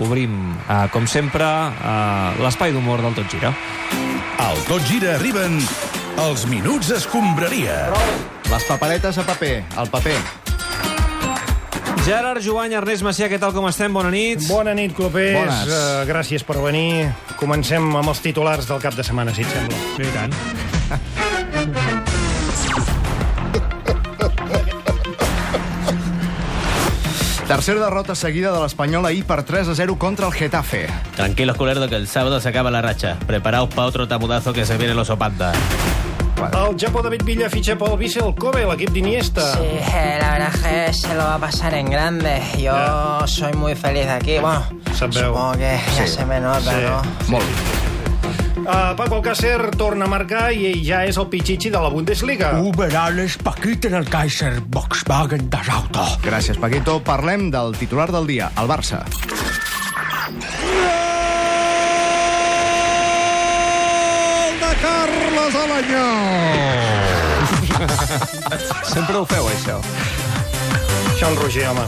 obrim, eh, com sempre, eh, l'espai d'humor del Tot Gira. Al Tot Gira arriben els Minuts Escombraria. Les paperetes a paper, al paper. Gerard Joan, Ernest Macià, què tal com estem? Bona nit. Bona nit, clubers. Bones. Eh, gràcies per venir. Comencem amb els titulars del cap de setmana, si et sembla. Sí, i tant. Tercera derrota seguida de l'Espanyol ahir per 3 a 0 contra el Getafe. Tranquilos, culerdo, que el sábado se acaba la racha. Preparaos para otro tamudazo que se viene los opanda. El Japó David Villa fitxa pel Vissel Kobe, l'equip d'Iniesta. Sí, eh, la verdad es que se lo va a pasar en grande. Yo Ya. soy muy feliz aquí. Bueno, Se veo. supongo que ya Sí. se me nota, Sí. ¿no? Molt. Uh, Paco Alcácer torna a marcar i ell ja és el pitxitxi de la Bundesliga. Uh. Uberales Paquita en el Kaiser Volkswagen das Auto. Oh, Gràcies, Paquito. Parlem del titular del dia, el Barça. Sempre ho feu, això. Sean Roger, home.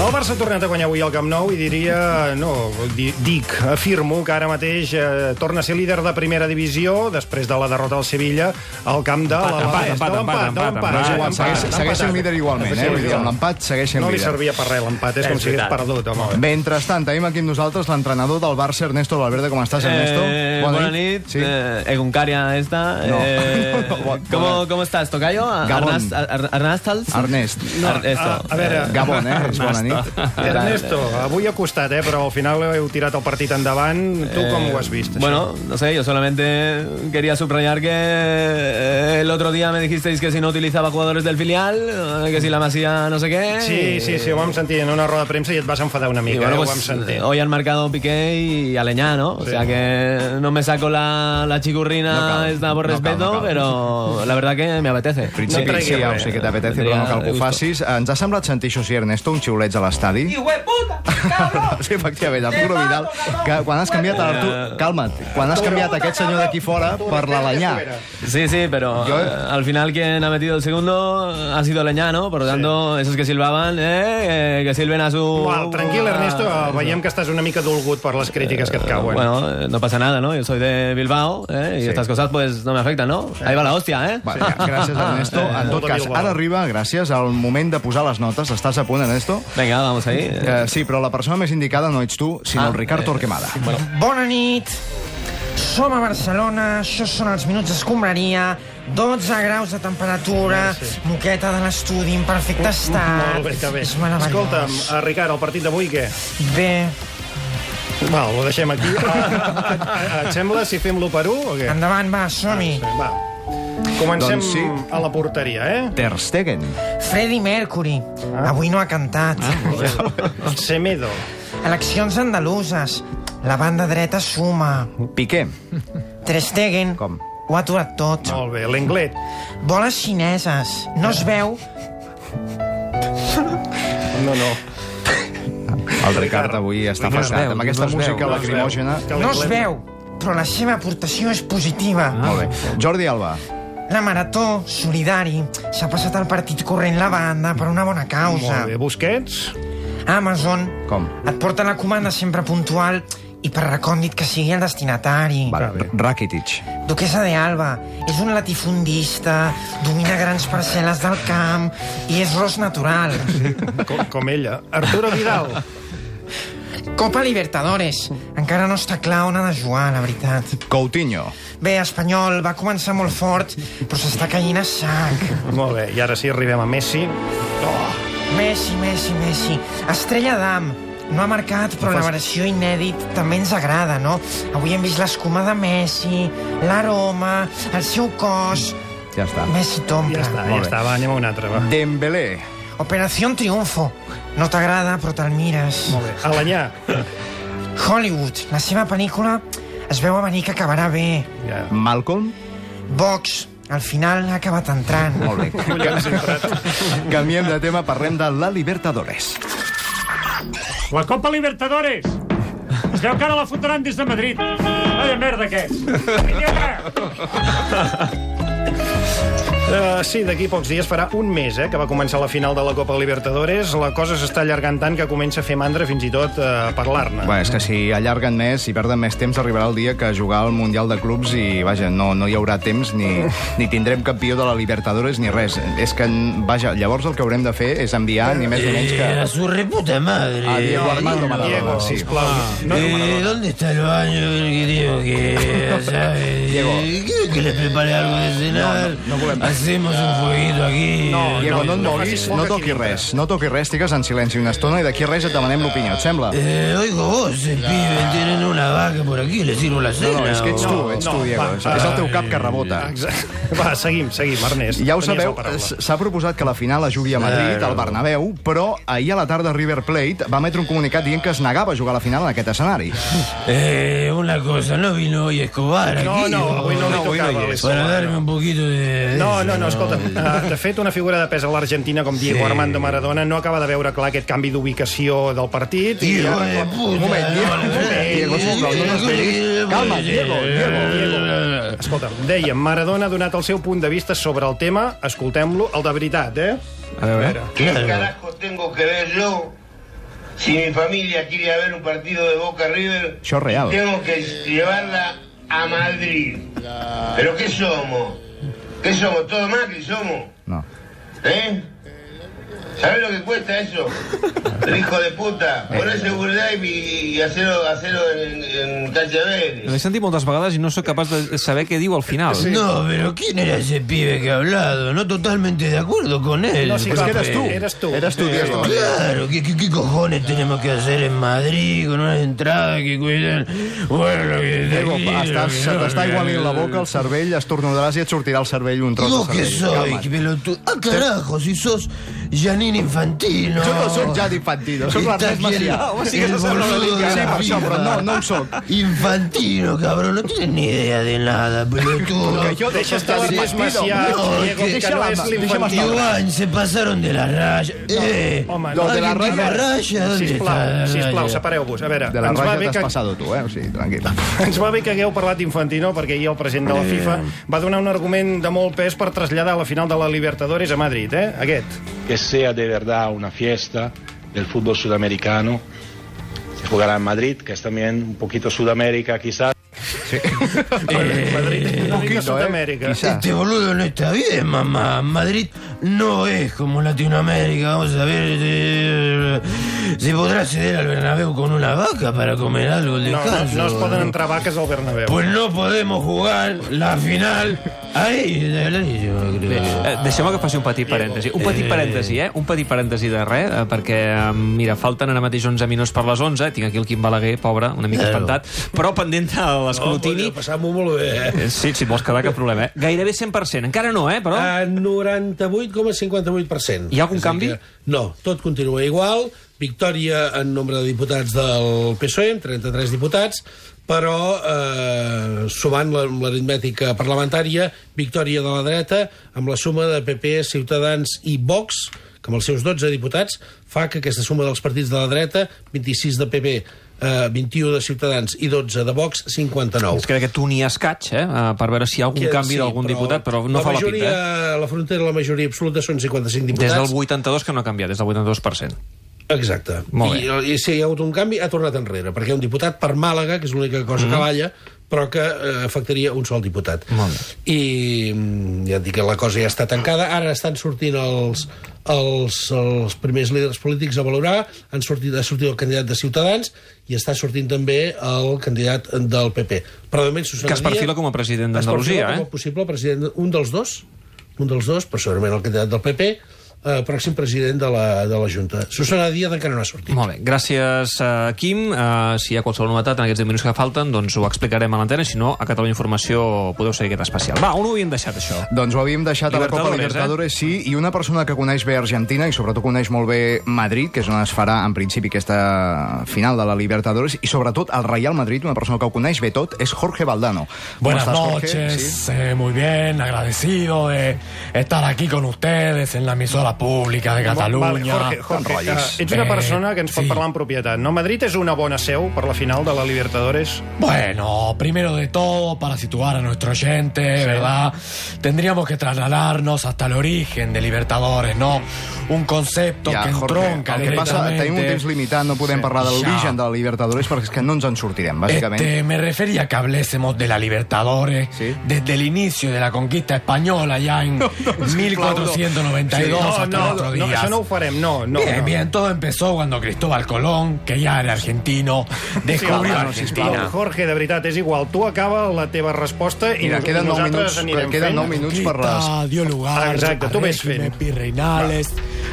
El Barça ha tornat a guanyar avui al Camp Nou i diria, no, di, dic, afirmo que ara mateix eh, torna a ser líder de primera divisió després de la derrota al Sevilla al camp de Empat, la empat, de empat, empat, l'empat, de l'empat. empat, Sí, empat, l'empat, Segueix, l'empat. segueixen líder igualment, eh? Vull dir, amb l'empat segueixen No li líder. servia per res l'empat, és, com si hagués perdut, home. Mentrestant, tenim aquí amb nosaltres l'entrenador del Barça, Ernesto Valverde. Com estàs, Ernesto? Eh, bona nit. Sí. Eh, Egunkaria esta. No. Eh, No, bona- ¿cómo, ¿Cómo estás, Tocayo? Gabón. Arnast- Ar- Arnastals? Ernest. Ar- esto. A, a veure, Gabon, eh? És bona nit. Ernesto, avui ha costat, eh, però al final heu tirat el partit endavant. Tu com ho has vist? això? Bueno, no sé, yo solamente quería subrayar que eh, el otro día me dijisteis que si no utilizaba jugadores del filial, eh, que si la masía no sé qué. eh. Sí, sí, sí, ho vam sentir en una roda de premsa i et vas enfadar una Y mica, bueno, eh, ho vam pues sentir. hoy han marcado Piqué y Aleñá, ¿no? O Sí. sea que no me saco la, la No chicurrina cal, esta por no cal, respeto, no cal. pero la verdad que me apetece. principi, No no tregui sí, ja ho res. sé que t'apetece, però no cal que ho facis. Eh, Ens ha semblat sentir això, sí, Ernesto, un xiulets a l'estadi. Sí, efectivament, Arturo Vidal, que quan has canviat a l'Arturo... Calma't, quan has canviat aquest senyor d'aquí fora per l'Alanyà. Sí, sí, pero Yo- eh, al final quien ha metido el segundo ha sido Aleñá, ¿no? Por lo tanto, esos que silbaban, eh, eh, que silben a su... Uau, tranquil, a- Ernesto, eh, veiem que estàs una mica dolgut per les crítiques que et cauen. Bueno, eh, no pasa nada, ¿no? Yo soy de Bilbao ¿eh? y Sí. estas cosas pues no me afectan, ¿no? Ahí va la hostia, ¿eh? Va, ja, gràcies, Ernesto. En tot cas, ara arriba, gràcies, al moment de posar les notes. Estàs a punt, Ernesto? Venga, vamos ahí. Eh, sí, però la persona més indicada no ets tu, sinó el Ricard Torquemada. Bona nit. Som a Barcelona, això són els minuts d'escombraria, 12 graus de temperatura, moqueta de l'estudi en perfecte estat. Ah, Molt bé, que bé. És meravellós. Escolta'm, eh, Ricard, el partit d'avui què? Bé, Val, ho deixem aquí. Ah, Et sembla si fem l'1 per 1 o què? Ah, endavant, va, som-hi. Va. Comencem Doncs sí. a la porteria, eh? Ter Stegen. Freddie Mercury. Ah. Avui no ha cantat. Semedo. Eleccions andaluses. La banda dreta suma. Piqué. Ter Stegen Com? ho ha aturat tot. Molt bé, l'Englet. Boles xineses. No es veu? No, no. El Ricard avui està passat. Amb aquesta música lacrimògena... Que No es l'Englet- veu, però la seva aportació és positiva. Ah, Molt bé. Ah. Jordi Alba. La Marató, solidari, s'ha passat el partit corrent la banda per una bona causa. Molt bé, Busquets. Amazon Com? et porta la comanda sempre puntual i per recòndit que sigui el destinatari. Va, Rakitic. Duquesa de Alba és un latifundista, domina grans parcel·les del camp i és ros natural. Com, com ella. Arturo Vidal. Copa Libertadores. Encara no està clar on ha de jugar, la veritat. Coutinho. Bé, Espanyol va començar molt fort, però s'està caient a sac. Molt bé, i ara sí arribem a Messi. Messi, Messi, Messi. Estrella d'Am. No ha marcat, però la versió inèdit també ens agrada, no? Avui hem vist l'escuma de Messi, l'aroma, el seu cos... Ja està. Messi t'omple. Mm, Ja està, Molt ja bé. està, va, anem a un altre, va. Dembélé. Operació Triunfo. No t'agrada, però te'l mires. Molt bé. Alanyà. Hollywood, la seva pel·lícula es veu a venir que acabarà bé. Ja. Malcolm. Vox, al final ha acabat entrant. Molt bé. Collons, he entrat. Canviem de tema, parlem de la Libertadores. La Copa Libertadores. Es veu que ara la fotran des de Madrid. Vaya merda que és. Idiota! Uh, sí, d'aquí pocs dies farà un mes eh, que va començar la final de la Copa Libertadores. La cosa s'està allargant tant que comença a fer mandra fins i tot uh, parlar-ne. Bé, és que si allarguen més, si perden més temps, arribarà el dia que jugar al Mundial de Clubs i, vaja, no, no hi haurà temps ni, ni tindrem campió de la Libertadores ni res. És que, vaja, llavors el que haurem de fer és enviar ni més ni menys que... Eh, A su reputa madre. A Diego Armando Maradona. Diego, Sí. sisplau. No, Eh, ¿Dónde está el baño del que digo que, ¿sabes? Diego. ¿Quiere que les prepare algo de cenar? Hacemos un fueguito aquí. Diego, no et no, moguis, no, no no, toquis res. No toquis res, estigues en silenci una estona i d'aquí res et demanem l'opinió, et sembla? Eh, oigo vos, el pibe, tienen una vaca por aquí, les sirvo la cena. No, és que ets tu, No, ets no, tu, Diego. va, És és el teu cap que rebota. Exacte. Va, seguim, seguim, Ernest. Ja ho Tenies sabeu, la paraula. s- s'ha proposat que la final es jugui a Madrid, al Bernabéu, però ahir a la tarda River Plate va emetre un comunicat dient que es negava a jugar a la final en aquest escenari. Eh, una cosa, no vino hoy Escobar No, aquí. no, avui no li No, avui no tocava. hi és. Alex Para Salvador. darme un poquito de... No, no, no, escolta, eh, de fet, una figura de pes a l'Argentina com Diego Armando Maradona no acaba de veure clar aquest canvi d'ubicació del partit. i Hijo de puta. Un moment, Diego, un moment, Diego, sisplau, no t'esperis. Calma, Diego, Diego, Diego. Escolta, dèiem, Maradona ha donat el seu punt de vista sobre el tema, escoltem-lo, el de veritat, eh? A veure... ¿Qué carajo tengo que ver yo si mi familia quiere ver un partido de Boca River? Això és real. Tengo que llevarla a Madrid. ¿Pero qué somos? ¿Qué somos? ¿Todo Macri somos? No. ¿Eh? ¿Sabes lo que cuesta eso? El hijo de puta. Poner Eh. seguridad y, y hacerlo, hacerlo en, en cancha Vélez. L'he sentit moltes vegades i no sóc capaç de saber què diu al final. No, pero ¿quién era ese pibe que ha hablado? No totalmente de acuerdo con él. No, sí, Porque- clar, que eres tu. Eres tu. Eres tu, Diego. Claro, ¿qué, qué, qué cojones tenemos que hacer en Madrid con unas entradas que cuidan? Bueno, que de Diego, aquí, estàs, que se no, t'està que- igualint la boca, el cervell, estornudaràs i et sortirà el cervell un tros ¿Vos de qué cervell. soy, Calma't. pelotudo? Ah, carajo, si sos Janine Infantino. Jo no sóc ja d'infantino, sóc l'Ernest Macià. Home, sí que s'assembla una mica. Sí, per això, però no, no ho sóc. Infantino, cabrón, no tienes ni idea de nada, pelotudo. Que jo deixa estar Estàs l'Ernest Macià, no, Diego, que- que no és deixa'm l'infantil. Iván, se pasaron de la raya. eh, Home, Los de la ¿alguien dijo raya- raya? ¿Dónde está Sisplau, la sisplau, raya? separeu-vos. A veure, De la ens va ratlla bé t'has que... passat tu, eh? O sigui, tranquil. Ens va bé que hagueu parlat d'Infantino perquè ahir el president de la FIFA va donar un argument de molt pes per traslladar la final de la Libertadores a Madrid, eh? Aquest. que sea de verdad una fiesta del fútbol sudamericano. Se jugará en Madrid, que es también un poquito Sudamérica quizás. Madrid, una eh, mica Sud-amèrica. Quizá. Este boludo no está bien, mamá. Madrid no es como Latinoamérica. Vamos a ver. eh, ¿Se podrá acceder al Bernabéu con una vaca para comer algo No, al no, descanso? no es poden entrar vaques al Bernabéu. Pues no podemos jugar la final ahí, de Alarillo, creo. Eh, Deixeu-me que faci un petit parèntesi. Un petit parèntesi, eh? Un petit parèntesi de res, eh? perquè, eh, mira, falten ara mateix 11 minuts per les 11, tinc aquí el Quim Balaguer, pobre, una mica Claro. espantat, però pendent de l'escrutini... Passar-m'ho molt bé, eh? Eh, Sí, si et vols quedar, cap problema, eh? Gairebé 100%, encara no, eh, però... A 98,58%. Hi ha algun És a dir canvi? Que, no, tot continua igual. Victòria en nombre de diputats del PSOE, E, amb 33 diputats, però eh, sumant la- amb l'aritmètica parlamentària, victòria de la dreta amb la suma de PP, Ciutadans i Vox, que amb els seus 12 diputats fa que aquesta suma dels partits de la dreta, 26 de PP, eh, 21 de Ciutadans i 12 de Vox, 59. Es crec que tu n'hi has catx, eh? eh, Per veure si hi ha algun Que- canvi d'algun diputat, però no la fa la majoria, pinta, eh? La frontera, la majoria absoluta són 55 Des diputats. del 82 que no ha canviat, des del 82%. Exacte. Molt I, I si hi ha hagut un canvi, ha tornat enrere, perquè un diputat per Màlaga, que és l'única cosa mm. que balla, però que eh, afectaria un sol diputat. Mm-hmm. Molt I mm, ja et dic que la cosa ja està tancada. Ara estan sortint els, els, els primers líders polítics a valorar. Han sortit, ha sortit el candidat de Ciutadans i està sortint també el candidat del PP. Però de moment Que es perfila com a president es d'Andalusia, perfila eh? com a possible president, un dels dos, un dels dos, però segurament el candidat del PP, eh, pròxim president de la, de la Junta. Susana Díaz encara no ha sortit. Molt bé, gràcies, uh, Quim. Uh, si hi ha qualsevol novetat en aquests 10 minuts que falten, doncs ho explicarem a l'antena, si no, a Catalunya Informació podeu seguir aquest especial. Va, on ho havíem deixat, això? Doncs ho havíem deixat a la eh? Copa Libertadores, Libertadores, sí, i una persona que coneix bé Argentina i sobretot coneix molt bé Madrid, que és on es farà en principi aquesta final de la Libertadores, i sobretot el Real Madrid, una persona que ho coneix bé tot, és Jorge Valdano. Com Buenas estàs, Jorge? noches, Sí. eh, muy bien, agradecido de estar aquí con ustedes en la emisora escola pública de Catalunya... Vale, Jorge, Jorge uh, Em ratllis. ets una Bé, persona que ens pot sí. parlar en propietat, no? Madrid és una bona seu per la final de la Libertadores? Bueno, primero de todo, para situar a nuestro oyente, ¿verdad? Tendríamos que trasladarnos hasta el origen de Libertadores, ¿no? Un concepto que entronca el que passa, directamente. tenim un temps limitat, no podem parlar de Ja. l'origen de la Libertadores perquè és que no ens en sortirem, bàsicament. Este, me refería a que hablésemos de la Libertadores desde el inicio de la conquista española, ya en 1492 no, hasta no, nuestros no, días. això no ho farem, no, no. bien, no. bien, todo empezó cuando Cristóbal Colón, que ya era argentino, descubrió home, no, sisplau, Argentina. Jorge, de veritat, és igual. Tu acaba la teva resposta i, Mira, nos- queden i nou nosaltres minuts, anirem queden fent. nou minuts per les- Quita, dio lugar Ah, Exacte, tu a vés fent. régimen Virreinales.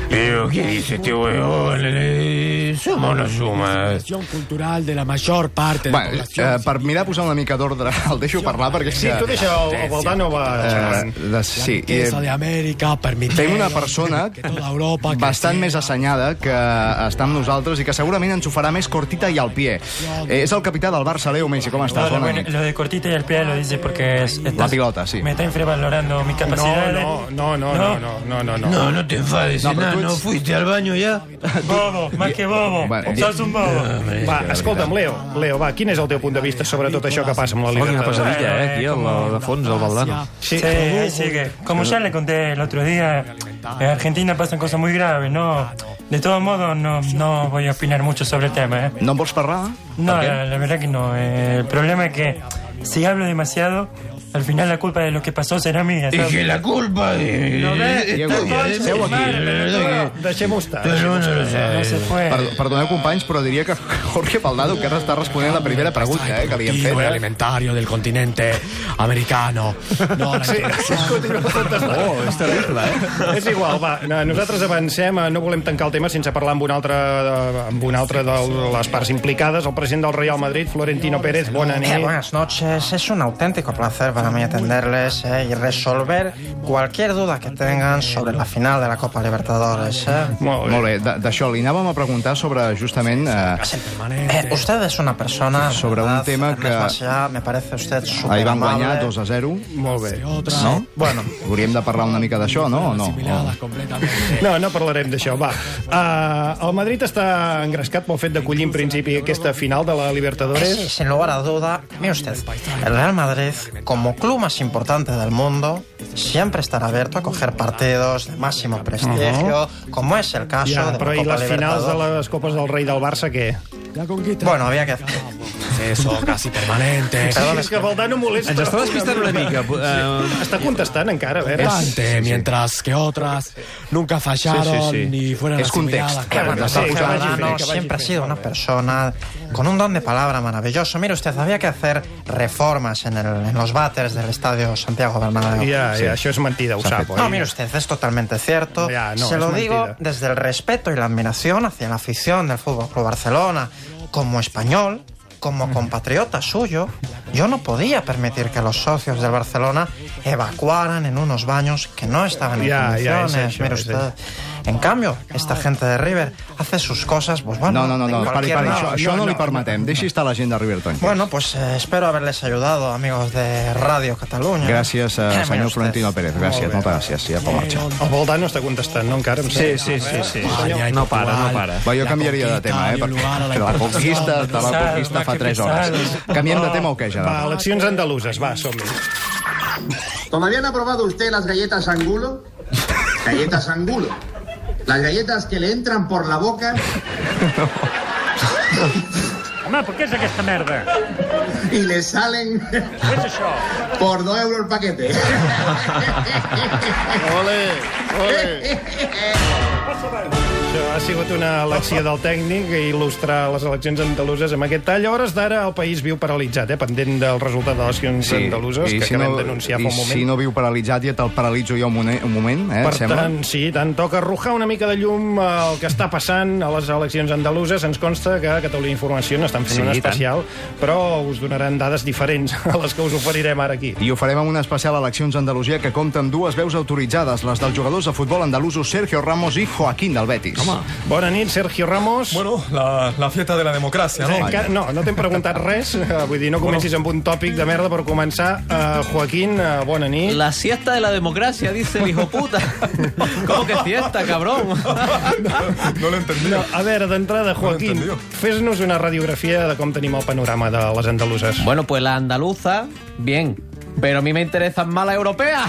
Pero, ¿qué dice este huevón? Eh, Somos unos sumas. cultural de la mayor parte de la Bueno, población. eh, per mirar posar una mica d'ordre, el deixo parlar perquè... és Sí, que- tu deixa el- el Valdano va- Eh, de, sí, i, Esa de América permitió Tenim una persona que toda Europa bastant més assenyada que està amb nosaltres i que segurament ens ho farà més cortita i al pie. Eh, És el capità del Barça, Leo Messi. Com estàs? Lo, Bona bueno, nit. lo de cortita y al pie lo dice porque es, La estás- pilota, sí. me está infravalorando mi capacidad. No, no, no, no, no, no, no, no. No, no te enfades, No, però tu enano. ets- ¿Fuiste al baño ya? Bobo, más que bobo. Sos un bobo. Va, escolta'm, Leo, Leo, va, quin és el teu punt de vista sobre tot això que passa amb la Una Libertadores? pesadilla, eh, aquí, al, al fons, el Valdano. Sí, Eh, ahí sigue. Como ya le conté el otro día, en Argentina pasan cosas muy graves, ¿no? De todos modos, no, no voy a opinar mucho sobre el tema, ¿eh? ¿No vols parlar? No, Per què? la, la verdad que no. eh, el problema es que si hablo demasiado, al final la culpa de lo que pasó será mía. Es ¿sabes? que la culpa de... No ve, Está Diego, bien, Diego, sí, Diego, la verdad que- Deixem-ho estar. Todo el mundo lo sabe. Perdó- Perdoneu, companys, però diria que Jorge Paldado encara està responent la primera pregunta eh, que li hem fet. Continuo alimentario del continente americano. No, la Oh, és terrible, eh? És igual, va, no, nosaltres avancem, eh, no volem tancar el tema sense parlar amb un altre, eh, amb un altre de les parts implicades, el president del Real Madrid, Florentino Pérez, bona Eh, nit. buenas noches, es un auténtico placer para mí atenderles eh, y resolver cualquier duda que tengan sobre la final de la Copa Libertadores. Eh. Molt bé, Molt bé. de- d'això li anàvem a preguntar sobre justament... Eh, Eh, usted es una persona... Sobre un tema que- Ernest Macià, me parece usted súper ahir van guanyar amable. 2 a 0. Molt bé. No? Bueno. Hauríem de parlar una mica d'això, no? O no? O... No, no parlarem d'això, va. Uh, el Madrid està engrescat pel fet d'acollir en principi aquesta final de la Sí, Libertadores. sin lugar a duda, mire usted, el Real Madrid, como club más importante del mundo, siempre estará abierto a coger partidos de máximo prestigio, como es el caso Ja, de la però i Copa les finals de Libertadores. les Copes del Rei del Barça, què? Bueno, había que... Eso, casi permanente. Perdona, és que Valdano molesta. Ens està despistant una mica, eh, Sí. Està contestant encara, a veure. Antes, mientras que otras nunca fallaron Sí, sí, sí. ni fueron Es asimiladas. context. Claro, Bueno, está sí, acusado. Valdano siempre ha sido una persona con un don de palabra maravilloso. Mire usted, había que hacer reformas en, el- en los váteres del estadio Santiago Bernabéu. Ja, Sí. ja, això és mentida, ho sap. No, oi? mire usted, es totalmente cierto. pues, Ya, no, Se es lo mentira. digo desde el respeto y la admiración hacia la afición del Fútbol Club Barcelona. Como español, como compatriota suyo, yo no podía permitir que los socios del Barcelona evacuaran en unos baños que no estaban en Ya, ya, es condiciones. eso, mire es usted. eso. En cambio, esta gente de River hace sus cosas, pues bueno. No, no, no, de no, pari, cualquier pari, lado. això, això no li permetem. Deixi estar la gent de Riverton. Bueno, pues eh, espero haberles ayudado, amigos de Radio Cataluña. Gràcies, eh, Mire senyor usted. Florentino Pérez. Gràcies, moltes gràcies. Ja pot marxar. El Valdano està contestant, no encara? Em Sí, sembla. sí, sí, sí. Ah, Senyor. No para, no para. Va, jo canviaria de tema, eh? Perquè la conquista, de la conquista fa 3 hores. Canviem de tema o què, Va, Gerard? eleccions andaluses, va, som-hi. ¿Todavía no ha probado usted las galletas angulo? Galletas angulo. Las galletas que le entran por la boca Home, però què és aquesta merda? y le salen Què és això? por dos euros el paquete. Ole, ole. Això ha sigut una elecció del tècnic que il·lustra les eleccions andaluses amb aquest tall. A hores d'ara el país viu paralitzat, eh? pendent del resultat de les eleccions andaluses que acabem d'anunciar i fa un moment. si no viu paralitzat, ja te'l paralitzo jo un, mone- un moment, eh? Per et sembla? tant, sí, i tant, toca arrojar una mica de llum al que està passant a les eleccions andaluses. Ens consta que a Catalunya Informació n'estan Sí, fent un i tant. especial, però us donaran dades diferents a les que us oferirem ara aquí. I ho farem amb una especial eleccions a Andalusia que compta amb dues veus autoritzades, les dels jugadors de futbol andalusos Sergio Ramos i Joaquín del Betis. home. Bona nit, Sergio Ramos. Bueno, la, la fiesta de la democràcia, no? Enca- No, no t'hem preguntat res. eh, Vull dir, no comencis amb un tòpic de merda per començar. Eh, Joaquín, eh, bona nit. La siesta de la democracia, dice el hijo puta. ¿Cómo que siesta, cabrón? No l'he entendit. No, a veure, d'entrada, Joaquín, fes-nos una radiografia de com tenim el panorama de les andaluses. Bueno, pues la andaluza, bien. Pero a mí me interesan más las europeas.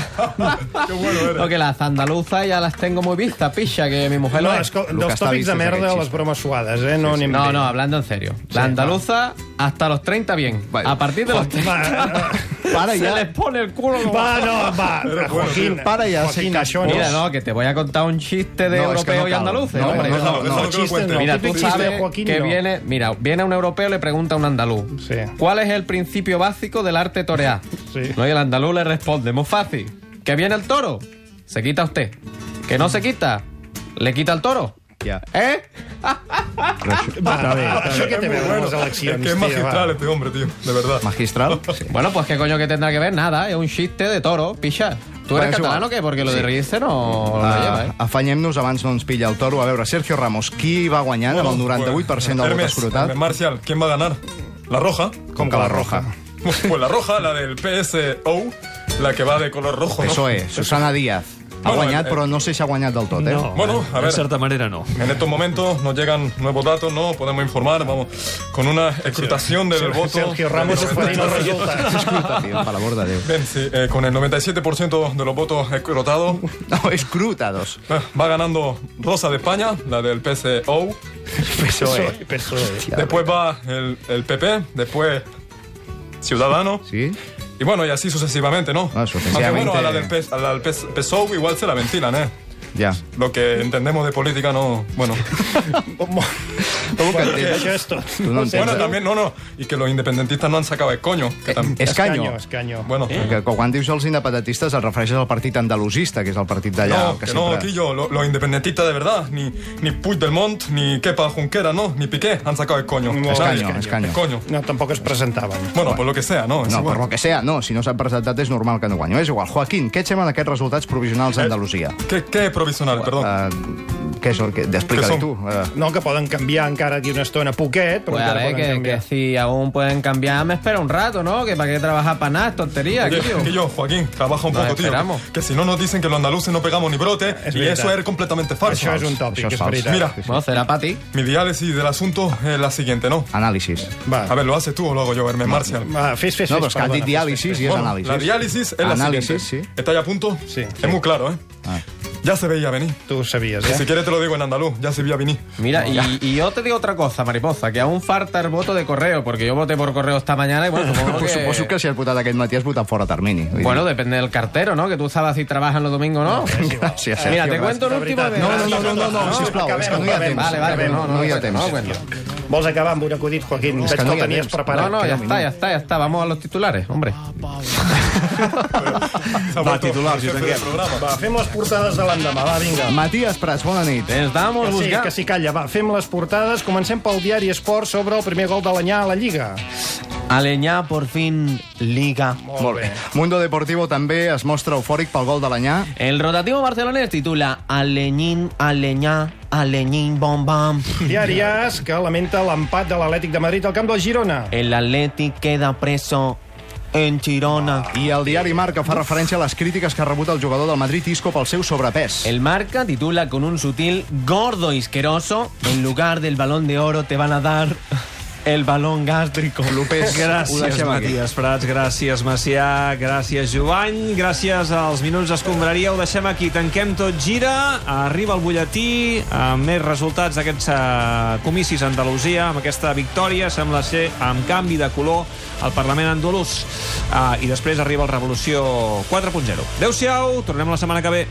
Qué bueno eres. Porque las andaluzas ya las tengo muy vistas, picha, que mi mujer No, lo es. escol- dels tòpics de merda, les bromes suades, eh? No, anem No, bé. no, hablando en serio. La andaluza, hasta los 30 bien. A partir de los 30... Para se ja. les pone el culo. como- Va, no, va, Joaquín, Joaquín, para ja, Joaquín, sí, això no. Mira, no, que te voy a contar un chiste de No, es que europeos no y cal. andaluces. No, hombre. no, no, no, no, chiste no. Mira, tú Típic chiste de sabes Joaquín, que no. viene, mira, viene un europeo y le pregunta a un andaluz. ¿Cuál es el principio básico del arte torear? No, y el andaluz le responde, muy fácil. ¿Que viene el toro? Se quita usted. ¿Que no se quita? ¿Le quita el toro? Ya. ¿Eh? Va, això què té a veure amb les Es eleccions, que es tio, va. magistral este hombre, tío, de verdad. Magistral. Bueno, pues qué coño que tendrá que ver, nada, es un chiste de toro, picha. ¿Tú eres Pues, Bueno, és catalano o igual. qué? Porque lo de Sí. reírse no lo lleva, ¿eh? Uh, Afanyem-nos abans no ens pilla el toro. A veure, Sergio Ramos, qui va guanyant amb el 98% del vot Hermes, escrutat? Hermes Marcial, ¿quién va a ganar? ¿La roja? Com que la roja. Pues la roja, la del PSO, la que va de color rojo, ¿no? PSOE, E, Susana Díaz. Ha Bueno, guanyat, eh, però no sé si ha guanyat del tot, eh? No. Bueno, a ver. En cierta manera no. En estos momentos nos llegan nuevos datos, ¿no? Podemos informar, vamos, con una escrutación del voto. Sergio Ramos del oferint els 98%. resultats. Escolta, tio, per l'amor de Déu. Bien, sí, eh, con el 97% de los votos escrotados. No, escrutados. Va ganando Rosa de España, la del PSO. E. PSOE. PSOE. Después va el, el PP, después Ciudadano. Sí. Y bueno, y así sucesivamente, ¿no? Ah, Aunque sucesivamente. bueno, a la del PS a la del PS PSOE igual se la ventilan, ¿eh? Ja. Lo que entendemos de política no... Bueno. Bueno, que- Això és tot. Tu no entens. Bueno, también, no, no. Y que los independentistas no han sacado escoño. Eh, Que tam- Escaño. Escaño. Bueno. Eh, Que quan dius els independentistes et refereixes al partit andalusista, que és el partit d'allà. No, el que, no, sempre- Quillo, lo- los independentistas de verdad, ni, ni Puigdemont, ni Kepa Junquera, no, ni Piqué han sacado el coño. Escaño, Nadie. escaño. Escoño. No, tampoc es presentaven. Bueno, por lo que sea, no? Es No, igual. per lo que sea, no. Si no s'ha presentat és normal que no guanyo. És igual. Joaquín, què et semblen aquests resultats Eh, provisionals a Andalusia? ¿Qué, qué provisional, perdón? Què és el Ah, que... Explica-li tu. eh. No, que poden canviar encara aquí una estona poquet, però Pues a encara ver, poden que, canviar. que si aún pueden cambiar, me espera un rato, ¿no? Que para qué trabajar para nada, es tontería, Oye, tío. Quillo, Joaquín, trabaja un Nos poco, tío. esperamos. Que, que si no nos dicen que los andaluces no pegamos ni brote, Es y verdad. eso es completamente falso. Eso es un tópico, Eso es es falso. verdad. Mira, Bueno, será para ti. mi diálisis del asunto es la siguiente, ¿no? Anàlisis. Va. A ver, ¿lo haces tú o lo hago yo, Hermes Marcial? Va, fes, fes, No, fes, però és que ha perdona, dit fes, diàlisis fes, i és fes. anàlisis. La diálisis es la Análisis, siguiente. ¿Está ya a punto? Sí. Es muy claro, ¿eh? Ya se veía venir. Tú sabías, Que ¿eh? Si quieres te lo digo en andaluz, ya se veía venir. Mira, y, y yo te digo otra cosa, mariposa, que aún falta el voto de correo, porque yo voté por correo esta mañana y bueno, supongo Pues que... suposo que si has votat aquest matí has votat fora termini. Vull dir- Bueno, depende del cartero, ¿no? Que tú sabes si trabajas los domingos o no. Gràcies, Sergio, Mira, te gràcies. cuento un De último... veritat. No, no, no, no, no, no, sisplau, és Ah, que no hi ha Acabem, temps. Vale, vale, Acabem, no, no, no hi cuento, ha temps. no, cuento. Vols acabar amb un acudit, Joaquín? Veig que que Ah, no el hi ha tenies temps. preparat. No, no, Queda ya un está, minut. ya está, ya está. Vamos a los titulares, hombre. Va, titulars, i ho tanquem. Va, fem les portades de l'endemà, va, vinga. Matías Prats, bona nit. Estamos Que sí, buscando... que sí, calla, va, fem les portades. Comencem pel diari Esport sobre el primer gol de l'Anyà a la Lliga. Aleñá por fin liga. Molt bé. Mundo Deportivo també es mostra eufòric pel gol de l'Anyà. El rotativo barcelonés titula Aleñín, Aleñá, Aleñín, bom, bam. Diari As, que lamenta l'empat de l'Atlètic de Madrid al camp del Girona. El Athletic queda preso en Girona. I el diari Marca fa referència a les crítiques que ha rebut el jugador del Madrid Isco pel seu sobrepès. El marca titula con un sutil gordo y asqueroso, en lugar del balón de oro te van a dar el balón gástrico. López, ho Gràcies, deixem aquí. Matías Prats, gràcies, Macià, gràcies, Jovany, gràcies als Minuts d'Escombraria. Ho deixem aquí, tanquem tot gira, arriba el butlletí, amb més resultats d'aquests eh, comicis a Andalusia, amb aquesta victòria, sembla ser amb canvi de color al Parlament Ah, andalús. Eh, I després arriba el Revolució 4.0. Adéu-siau, tornem la setmana que ve.